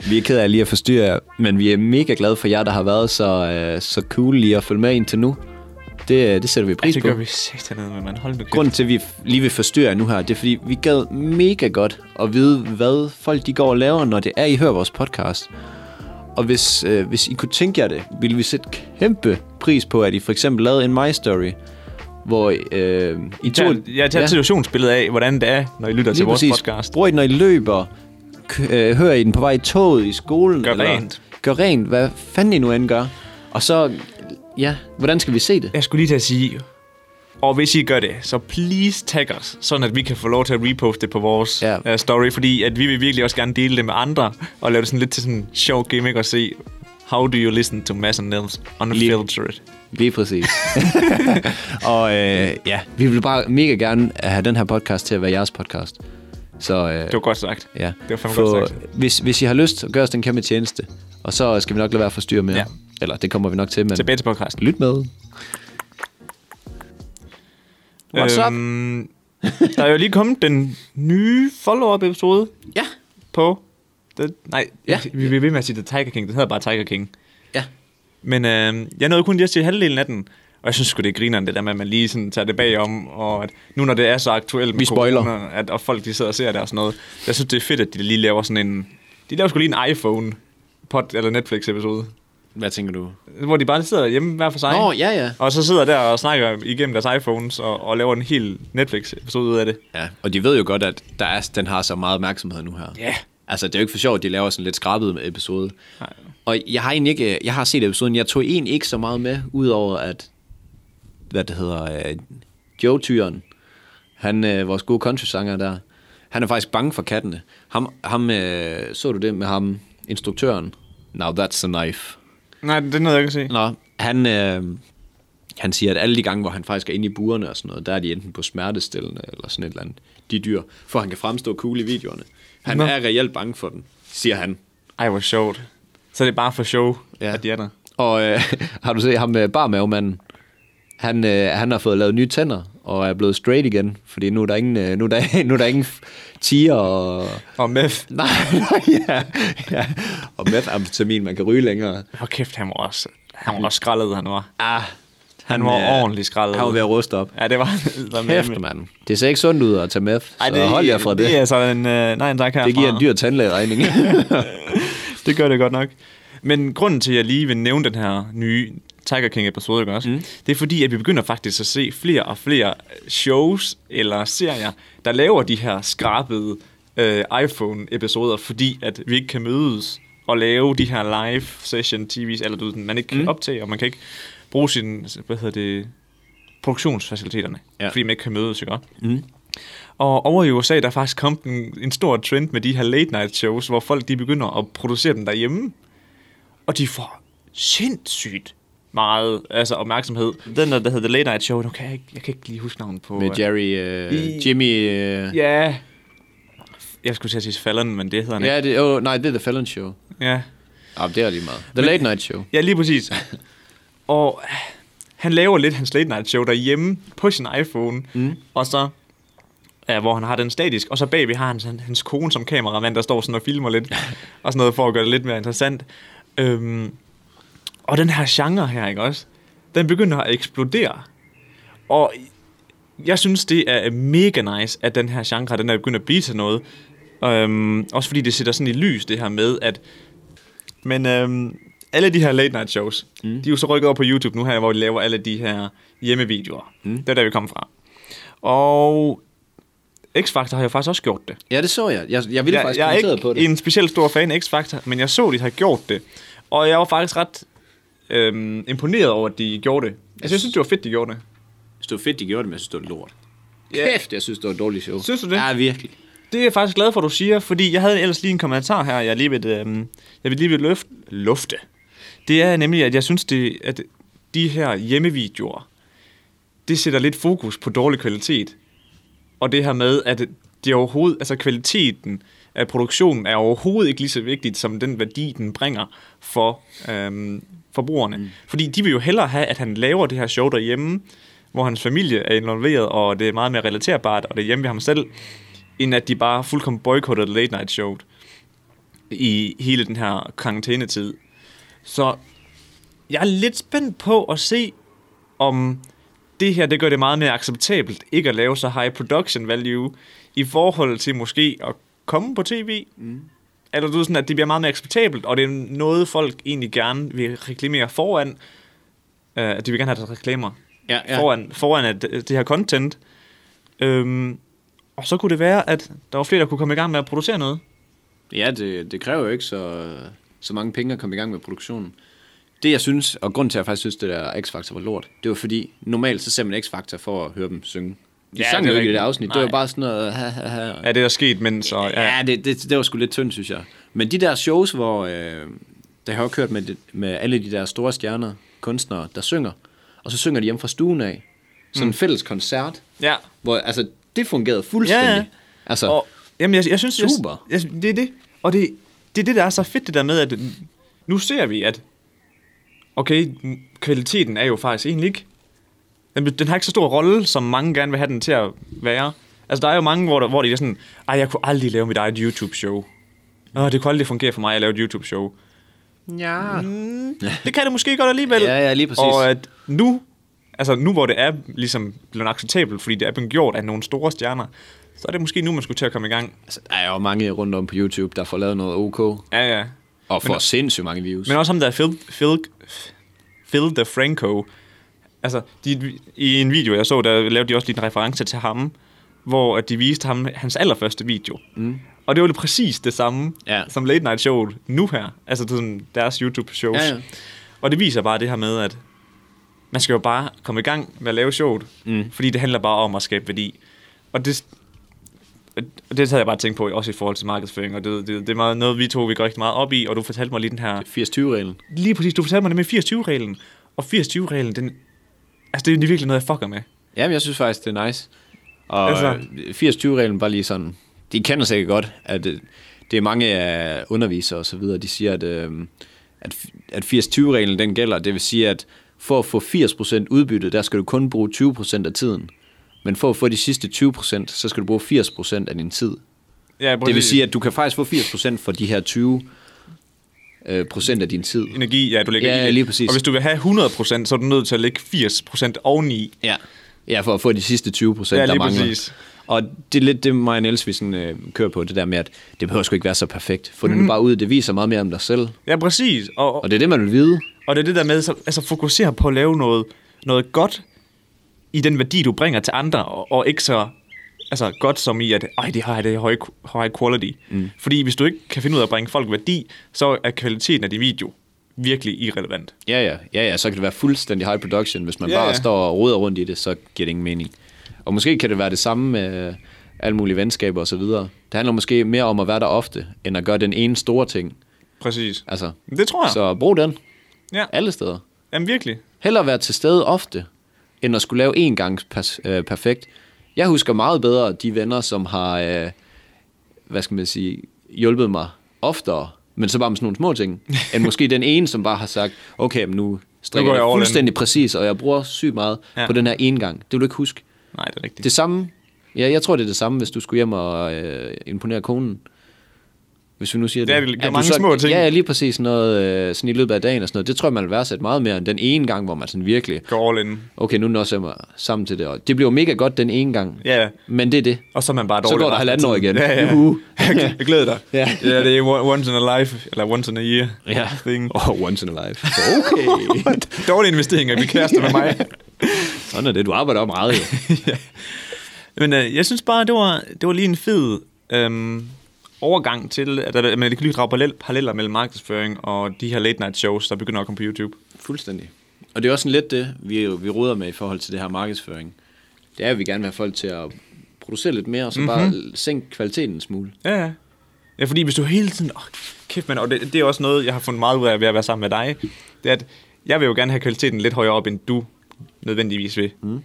A: Vi er ked af lige at forstyrre jer, men vi er mega glade for jer, der har været så, øh, så cool lige at følge med indtil nu. Det, det sætter vi pris
B: det
A: på.
B: gør vi satan med, man. Hold nu kæft.
A: Grunden til, at vi f- lige vil forstyrre jer nu her, det er, fordi vi gad mega godt at vide, hvad folk de går og laver, når det er, I hører vores podcast. Og hvis, øh, hvis I kunne tænke jer det, ville vi sætte kæmpe pris på, at I for eksempel lavede en My Story, hvor øh, I
B: Jeg
A: tog...
B: tager, jeg tager ja. situationsbilledet af, hvordan det er, når I lytter til vores podcast.
A: Bruger I den, når I løber? K- øh, hører I den på vej i toget i skolen?
B: Gør rent.
A: Gør rent. Hvad fanden I nu end gør. Og så, ja, hvordan skal vi se det?
B: Jeg skulle lige til at sige, og hvis I gør det, så please tag os, sådan at vi kan få lov til at reposte det på vores
A: Ja.
B: ja. uh, story, fordi at vi vil virkelig også gerne dele det med andre, og lave det sådan lidt til sådan en sjov gimmick og se, how do you listen to Mads and Nils unfiltered?
A: Lige præcis. og øh, ja, vi vil bare mega gerne have den her podcast til at være jeres podcast. Så øh,
B: Det var godt sagt.
A: ja,
B: det var fandme godt sagt.
A: hvis, hvis I har lyst, så gør os den kæmpe tjeneste. Og så skal vi nok lade være for styr med. Ja.
B: Ja.
A: Eller det kommer vi nok til, men
B: Tilbage til podcasten.
A: lyt med. What's up?
B: Øhm, der er jo lige kommet den nye follow-up-episode
A: Ja,
B: på... The, nej,
A: Ja.
B: ja. vi bliver ved med at sige The Tiger King. Det hedder bare Tiger King.
A: ja.
B: Men øh, jeg nåede kun lige at se halvdelen af den. Og jeg synes sgu, det er grineren, det der med, at man lige sådan tager det bagom, og at nu når det er så aktuelt med
A: Vi spoiler.
B: corona, at, og folk de sidder og ser det og sådan noget. Jeg synes, det er fedt, at de lige laver sådan en... De laver sgu lige en iPhone pot eller Netflix-episode,
A: Hvad tænker du?
B: hvor de bare sidder hjemme hver for sig.
A: Nå, ja, ja.
B: Og så sidder der og snakker igennem deres iPhones og, og laver en hel Netflix-episode ud af det.
A: Ja, og de ved jo godt, at der er, den har så meget opmærksomhed nu her.
B: Ja.
A: Altså, det er jo ikke for sjovt, at de laver sådan lidt skrabet episode.
B: Nej.
A: Og jeg har egentlig ikke, jeg har set episoden, jeg tog egentlig ikke så meget med, udover at, hvad det hedder, øh, Joe Tyren, han, øh, vores gode countrysanger der, han er faktisk bange for kattene. Ham, ham øh, så du det med ham, instruktøren? Now that's a knife.
B: Nej, det er noget, jeg kan se.
A: Nå, han, øh, han siger, at alle de gange, hvor han faktisk er inde i burerne og sådan noget, der er de enten på smertestillende eller sådan et eller andet. De dyr, for han kan fremstå cool i videoerne. Han Nå.
B: Nå.
A: er reelt bange for den, siger han.
B: Ej, hvor sjovt. Så det er bare for show,
A: Ja.
B: ja. at de er der.
A: Og øh, har du set ham med barmavemanden? Han, øh, han har fået lavet nye tænder og er blevet straight igen, fordi nu er der ingen, øh, nu er der, nu er der ingen f- tiger og...
B: Og med
A: Nej, nej, ja, ja. Og methamfetamin, man kan ryge længere.
B: Hvor kæft, han var også, han var også skrællet, han var.
A: Ah, øh,
B: Han var ordentligt skrællet.
A: Han var ved at ruste op.
B: Ja, det var han.
A: Kæft, mand. Det ser ikke sundt ud at tage med, så Ej, det, hold jer fra det.
B: Det
A: Det,
B: er altså en... Øh, nej, en tak herfra.
A: det giver en dyr tandlægeregning.
B: Det gør det godt nok. Men grunden til, at jeg lige vil nævne den her nye Tiger King-episode, ikke også? Mm. Det er fordi, at vi begynder faktisk at se flere og flere øh, shows eller serier, der laver de her skrabede øh, iPhone-episoder, fordi at vi ikke kan mødes og lave de her live session TV's, eller du ved, man ikke kan mm. optage, og man kan ikke bruge sin, hvad hedder det, produktionsfaciliteterne,
A: Ja.
B: ja. Mm. fordi man ikke kan mødes, ikke også? Og over i USA, der er faktisk kommet en, en stor trend med de her late night shows, hvor folk de begynder at producere dem derhjemme. Og de får sindssygt meget altså, opmærksomhed. Den der, der hedder The Late Night Show, nu kan jeg, øh. ikke, jeg kan ikke lige huske navnet på...
A: med
B: øh,
A: Jerry, øh,
B: I-
A: Jimmy... Øh,
B: Ja. jeg skulle til at sige Fallon, men det hedder han ikke.
A: Ja, det, oh, nej, det er The Fallon Show.
B: Ja.
A: Ah, det er lige meget. The Late Night Show.
B: ja, lige præcis. og øh, han laver lidt hans late night show derhjemme på sin iPhone. Mm. Og så Ja, hvor han har den statisk, og så bagved har han sådan- hans kone som kameramand, der står sådan og filmer lidt, og sådan noget for at gøre det lidt mere interessant. Øhm, og den her genre her, ikke også? Den begynder at eksplodere. Og jeg synes, det er mega nice, at den her genre, den er begyndt at blive til noget. Øhm, også fordi det sætter sådan i lys, det her med, at... Men øhm, alle de her late night shows, mm. de er jo så rykket over på YouTube nu her, hvor de laver alle de her hjemmevideoer. Mm. Det er der, vi kommer fra. Og X-Factor har jo faktisk også gjort det.
A: Ja, det så jeg. Jeg, jeg ville ja, faktisk
B: jeg er
A: kommentere
B: ikke
A: på det.
B: en specielt stor fan af X-Factor, men jeg så, de har gjort det. Og jeg var faktisk ret øhm, imponeret over, at de gjorde det. Altså, jeg synes, det var fedt, de gjorde det.
A: Det var fedt, de gjorde det, men jeg synes, det var lort.
B: Ja.
A: Kæft, jeg synes, det var et dårligt show.
B: Synes du det?
A: Ja, virkelig.
B: Det er jeg faktisk glad for, du siger, fordi jeg havde ellers lige en kommentar her, jeg lige vil, øhm, jeg vil lige vil løft, lufte. Det er nemlig, at jeg synes, det, at de her hjemmevideoer, det sætter lidt fokus på dårlig kvalitet. Og det her med, at det overhovedet, altså kvaliteten af produktionen er overhovedet ikke lige så vigtigt, som den værdi, den bringer for øhm, forbrugerne. Mm. Fordi de vil jo hellere have, at han laver det her show derhjemme, hvor hans familie er involveret, og det er meget mere relaterbart, og det er hjemme ved ham selv, end at de bare fuldkommen boykottede late night showet i hele den her karantænetid. Så jeg er lidt spændt på at se, om det her det gør det meget mere acceptabelt ikke at lave så high production value i forhold til måske at komme på tv. Mm. Eller du ved, sådan, at det bliver meget mere acceptabelt, og det er noget, folk egentlig gerne vil reklamere foran. Uh, at de vil gerne have deres reklamer
A: Ja, ja.
B: foran, foran at øh, det her content. Øhm, og så kunne det være, at der var flere, der kunne komme i gang med at producere noget.
A: Ja, det, det kræver jo ikke så, så mange penge at komme i gang med produktionen. Det jeg synes, og grund til at jeg faktisk synes, det der X-Factor var lort, det var fordi, normalt så ser man X-Factor for at høre dem synge. De
B: Ja,
A: ja, sang
B: det
A: jo
B: er
A: ikke i det
B: rigtigt.
A: afsnit, Nej. det
B: Nej.
A: var bare sådan noget, ha, ha, ha.
B: Ja, det er der sket, men så... Ja.
A: Ja, det, det, det var sgu lidt tyndt, synes jeg. Men de der shows, hvor øh, der har jeg jo kørt med, det- med alle de der store stjerner, kunstnere, der synger, og så synger de hjemme fra stuen af,
B: Mm.
A: sådan en fælles koncert,
B: ja.
A: hvor altså, det fungerede fuldstændig.
B: Ja,
A: Ja,
B: ja.
A: ja. Altså,
B: Og, jamen, jeg, jeg synes... jeg-
A: Super.
B: Jeg, jeg, det er det. Og det, det er det, der er så fedt, det der med, at nu ser vi, at... Okay, m- kvaliteten er jo faktisk egentlig ikke... Den, den har ikke så stor rolle, som mange gerne vil have den til at være. Altså, der er jo mange, hvor, der, hvor de er sådan... Ej, jeg kunne aldrig lave mit eget YouTube-show. Åh, det kunne aldrig fungere for mig at lave et YouTube-show.
A: ja.
B: Det kan det måske godt alligevel.
A: Mm. Ja, ja, lige præcis.
B: Og at nu, altså nu hvor det er ligesom blevet acceptabelt, fordi det er blevet gjort af nogle store stjerner, så er det måske nu, man skulle til at komme i gang.
A: Altså, der er jo mange rundt om på YouTube, der får lavet noget OK,
B: Ja, ja.
A: og får men, sindssygt mange views.
B: Men
A: Men,
B: også ham der Phil, Phil, Phil DeFranco. Altså, de, i en video, jeg så, der lavede de også lige en reference til ham, hvor at de viste ham hans allerførste video. Mm. Og det var jo præcis det samme
A: Ja.
B: som Late Night Show nu her. Altså det er sådan deres YouTube-shows.
A: Ja, ja.
B: Og det viser bare det her med, at man skal jo bare komme i gang med at lave showet. Mm. Fordi det handler bare om at skabe værdi. Og det, og det havde jeg bare tænkt på, også i forhold til markedsføring. Og det, det, det er meget noget, vi to vi går rigtig meget op i. Og du fortalte mig lige den her
A: 80-20-reglen.
B: Lige præcis, du fortalte mig det med 80-20-reglen. Og 80-20-reglen, den... Altså, det er jo virkelig noget, jeg fucker med.
A: Jamen, jeg synes faktisk, det er nice. Og
B: Altså-
A: altså. 80-20-reglen bare lige sådan, de kender sikkert godt, at øh, det er mange af undervisere og så videre, de siger, at, øh, at, f- at 80-20-reglen den gælder. Det vil sige, at for at få 80% udbytte, der skal du kun bruge 20% af tiden. Men for at få de sidste 20%, så skal du bruge 80% af din tid.
B: Ja,
A: Det vil sige, at du kan faktisk få 80% for de her 20 øh, procent af din tid.
B: Energi, ja, du lægger
A: Ja,
B: i det.
A: lige præcis.
B: Og hvis du vil have 100%, så er du nødt til at lægge 80% oveni.
A: Ja. Ja, for at få de sidste 20 procent,
B: Ja,
A: der
B: lige
A: mangler.
B: præcis.
A: Og det er lidt det, mig og Niels, vi sådan, øh, kører på, det der med, at det behøver sgu ikke være så perfekt. Få det nu bare ud, det viser meget mere om dig selv.
B: Ja, præcis. Og, og,
A: Og det er det, man vil vide.
B: og det er det der med, så, altså fokusere på at lave noget, noget godt i den værdi, du bringer til andre, og, og ikke så altså, godt som i, at Ej, det har det er høj, high quality. Mm. Fordi hvis du ikke kan finde ud af at bringe folk værdi, så er kvaliteten af din video virkelig irrelevant.
A: Ja, ja, ja, ja, så kan det være fuldstændig high production. Hvis man
B: Ja,
A: ja, bare
B: ja.
A: ja. står og roder rundt i det, så giver det ingen mening. Og måske kan det være det samme med øh, alle mulige venskaber og så videre. Det handler måske mere om at være der ofte, end at gøre den ene store ting.
B: Præcis.
A: Altså,
B: Det tror jeg. Så.
A: så brug den
B: Ja,
A: alle steder.
B: jamen virkelig.
A: Hellere være til stede ofte, end at skulle lave en gang pers- øh, perfekt. Jeg husker meget bedre de venner, som har øh, hvad skal man sige, hjulpet mig oftere, men så bare med sådan nogle små ting, end måske den ene, som bare har sagt, okay, men nu strikker
B: går
A: jeg
B: jeg all in.
A: fuldstændig præcis, og jeg bruger sygt meget ja.
B: Ja.
A: på den her ene gang. Det vil du ikke huske.
B: Nej, det er rigtigt.
A: Det samme, ja, jeg tror, det er det samme, hvis du skulle hjem og øh, imponere konen. Hvis vi nu siger
B: Det er
A: det.
B: det,
A: At du
B: mange små ting.
A: Ja, ja, lige præcis sådan noget, øh, sådan i løbet af dagen og sådan noget. Det tror jeg, man vil værdsætte meget mere end den ene gang, hvor man sådan virkelig,
B: går all in.
A: okay, nu når jeg mig sammen til det. Og det bliver jo mega godt den ene gang,
B: Ja, ja.
A: men det er det.
B: Og så er man bare
A: Så
B: dårlig.
A: går der
B: resten af
A: halvandet år igen.
B: tiden. Ja, ja.
A: Juhu.
B: Jeg glæder dig.
A: Ja.
B: ja, det er once in a life, eller once in a year.
A: Ja.
B: Thing.
A: Oh, once in a life. Okay.
B: Dårlige investeringer, vi kærester med mig.
A: Sådan er det, du arbejder om meget. Jo.
B: Men øh, jeg synes bare, det var, det var lige en fed øhm, overgang til, at der, man kan lige drage parallel, paralleller mellem markedsføring og de her late night shows, der begynder at komme på YouTube.
A: Fuldstændig. Og det er også sådan lidt det, vi, vi ruder med i forhold til det her markedsføring. Det er, at vi gerne vil have folk til at producere lidt mere, og så mm-hmm. bare sænke kvaliteten en smule.
B: Ja, ja. Ja, fordi hvis du hele tiden... Åh, kæft, mand. Og det, det er også noget, jeg har fundet meget ud af ved at være sammen med dig. Det er, at jeg vil jo gerne have kvaliteten lidt højere op, end du nødvendigvis vil. Mm.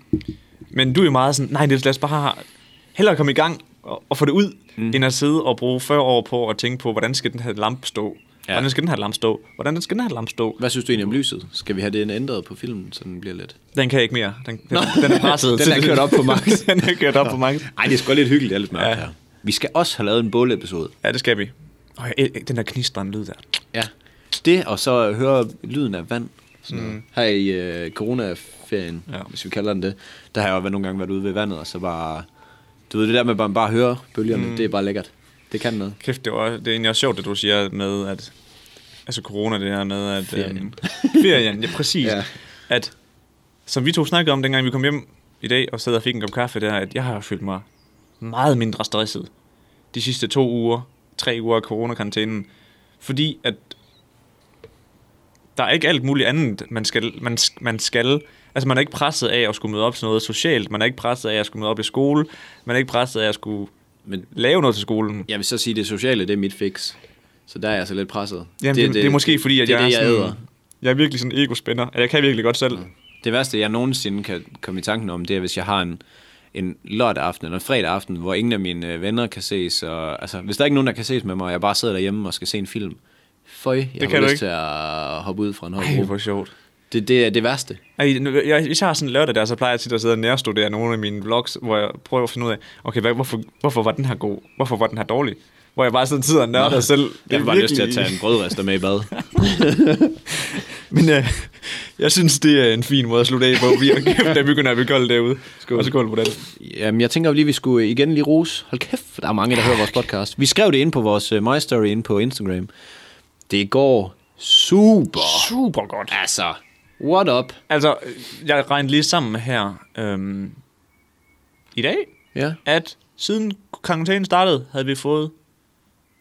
B: Men du er jo meget sådan, nej, Niels, lad os bare hellere komme i gang og, og få det ud, mm. end at sidde og bruge 40 år på at tænke på, hvordan skal den her lampe stå?
A: Ja.
B: Ja. Hvordan skal den her lampe stå? Hvordan skal den her lampe stå?
A: Hvad synes du egentlig om lyset? Skal vi have det ændret på filmen, så den bliver lidt...
B: Den kan jeg ikke mere. Den, den, den er presset.
A: Den er kørt op på max.
B: den er kørt op på max.
A: Nej, det er sgu lidt hyggeligt, det er lidt mørkt
B: Ja.
A: her. Vi skal også have lavet en bålepisode.
B: Ja, det skal vi. Og jeg, den der knistrende lyd der.
A: Ja. Det, og så høre lyden af vand. Sådan mm. Her i øh, coronaferien, ja.
B: Ja.
A: hvis vi kalder den det, der har jeg jo været- nogle gange været ude ved vandet, og så bare... Du ved, det der med bare, bare at høre bølgerne, mm. det er bare lækkert. Det kan noget.
B: Kæft, det, var, det er egentlig også sjovt, det du siger med, at altså corona, det her med, at...
A: Ferien.
B: Øhm, ferien, ja, præcis.
A: Ja.
B: ja. At, som vi to snakkede om, dengang vi kom hjem i dag, og sad og fik en kop kaffe der, at jeg har følt mig meget mindre stresset de sidste to uger, tre uger af coronakarantænen, fordi at der er ikke alt muligt andet, man skal, man, sk- man skal. Altså, man er ikke presset af at skulle møde op til noget socialt, man er ikke presset af at skulle møde op i skole, man er ikke presset af at skulle
A: Men
B: lave noget til skolen.
A: jeg vil så sige, at det sociale, det er mit fix. Så der er jeg så lidt presset.
B: Jamen, det, det, det er måske fordi, at
A: det,
B: jeg,
A: er det,
B: er
A: jeg
B: sådan,
A: æder. Mm.
B: jeg er virkelig sådan en egospænder. Jeg kan virkelig godt selv.
A: Det værste, jeg nogensinde kan komme i tanken om, det er, hvis jeg har en, en lørdag aften eller en fredag aften, hvor ingen af mine øh, venner kan ses. Og, altså, hvis der ikke er nogen, der kan ses med mig, og jeg bare sidder derhjemme og skal se en film. Føj, jeg det
B: kan
A: har
B: du
A: lyst
B: ikke.
A: til at hoppe ud fra en høj
B: Ej,
A: bro.
B: hvor sjovt.
A: Det, det er det værste.
B: Ej, nu- jeg, hvis jeg har sådan en lørdag der, så plejer jeg tit at sidde og nærstudere nogle af mine vlogs, hvor jeg prøver at finde ud af, okay, hvad, hvorfor, hvorfor var den her god? Hvorfor var den her dårlig? Hvor jeg bare sådan sidder og nørder selv. Det
A: Jeg
B: er
A: har bare lyst til at
B: virkelig-
A: tage en brødrester med i bad.
B: Men øh, jeg synes, det er en fin måde at slutte af på. Vi har der begynder at blive koldt derude. Skål. Og så skål på den.
A: Jamen, jeg tænker jo lige, vi skulle igen lige rose. Hold kæft, der er mange, der hører vores podcast. Vi skrev det ind på vores øh, My Story ind på Instagram. Det går super.
B: Super godt.
A: Altså, what up?
B: Altså, øh, jeg regnede lige sammen her øhm, i dag,
A: Ja.
B: at siden karantænen startede, havde vi fået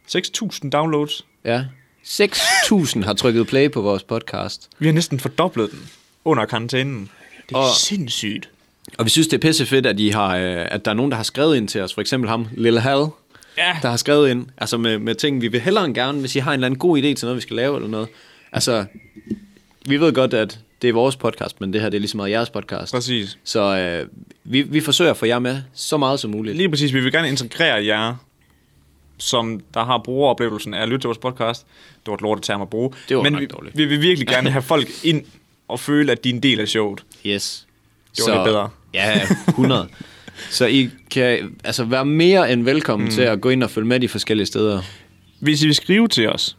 B: 6.000 downloads.
A: Ja. 6.000 har trykket play på vores podcast.
B: Vi har næsten fordoblet den under karantænen. Det er
A: Og-
B: og... sindssygt.
A: Og vi synes, det er pisse fedt, at, I har, øh, at der er nogen, der har skrevet ind til os. For eksempel ham, Lille Hal,
B: Ja.
A: der har skrevet ind. Altså med, med ting, vi vil hellere end gerne, hvis I har en eller anden god idé til noget, vi skal lave eller noget. Altså, vi ved godt, at det er vores podcast, men det her det er lige så meget jeres podcast.
B: Præcis.
A: Så øh, vi, vi forsøger at få jer med så meget som muligt.
B: Lige præcis, vi vil gerne integrere jer, som der har brugeroplevelsen af at lytte til vores podcast. Det var et lortet term at bruge.
A: Det var
B: Men
A: nok
B: vi,
A: dårligt.
B: vi vil virkelig gerne have folk ind og føle, at de er en del af showet.
A: Yes.
B: Det var lidt bedre.
A: Ja, 100. så I kan altså være mere end velkommen mm. til at gå ind og følge med de forskellige steder.
B: Hvis I vil skrive til os,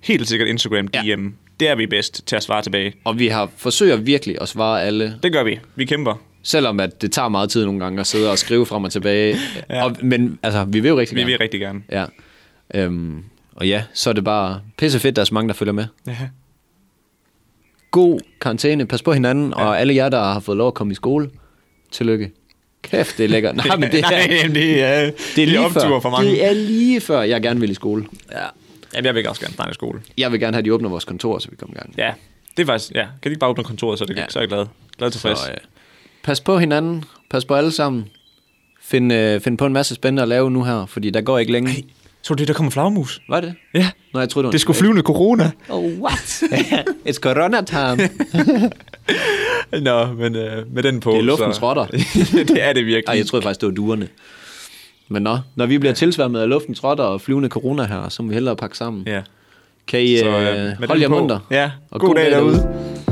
B: helt sikkert Instagram DM,
A: Ja.
B: ja. der er vi bedst til at svare tilbage.
A: Og vi har forsøger virkelig at svare alle,
B: Det gør vi. Vi kæmper.
A: selvom at det tager meget tid nogle gange at sidde og skrive frem og tilbage. ja. og, men altså, vi vil jo rigtig
B: Vi
A: gerne.
B: vil rigtig gerne.
A: Ja. Øhm, og ja, så er det bare pisse fedt, der er så mange, der følger med.
B: Ja.
A: God karantæne, pas på hinanden, ja. og alle jer, der har fået lov at komme i skole, tillykke. Kæft, det er lækkert. Nej, men det er,
B: Ej, jamen, det er,
A: det er, lige
B: optur
A: før,
B: for mange.
A: Det er lige før, jeg gerne vil i skole.
B: Ja. Jamen, jeg vil også gerne starte i skole.
A: Jeg vil gerne have, at de åbner vores kontor, så vi kommer i gang.
B: Ja, det er faktisk, ja. Kan de ikke bare åbne kontoret, så, er det,
A: Ja.
B: ja. så er jeg glad. Glad tilfreds.
A: Så,
B: Så, ja.
A: øh, pas på hinanden, pas på alle sammen. Find, øh, find på en masse spændende at lave nu her, fordi der går ikke længe. Ej.
B: Så du det, der kommer flagmus?
A: Var det?
B: Ja.
A: Nå, jeg troede, det var
B: Det skulle flyvende corona.
A: Oh, what? It's corona time.
B: Nå, men øh, med den på.
A: Det er luftens
B: så...
A: rotter.
B: det er det virkelig.
A: Ej, jeg troede faktisk, det var duerne. Men nå, når vi bliver tilsværmet af luften trotter og flyvende corona her, så må vi hellere pakke sammen.
B: Ja.
A: Kan I
B: øh,
A: så, øh,
B: med
A: holde
B: den
A: jer
B: på.
A: munter?
B: Ja,
A: Og
B: god, god dag derude.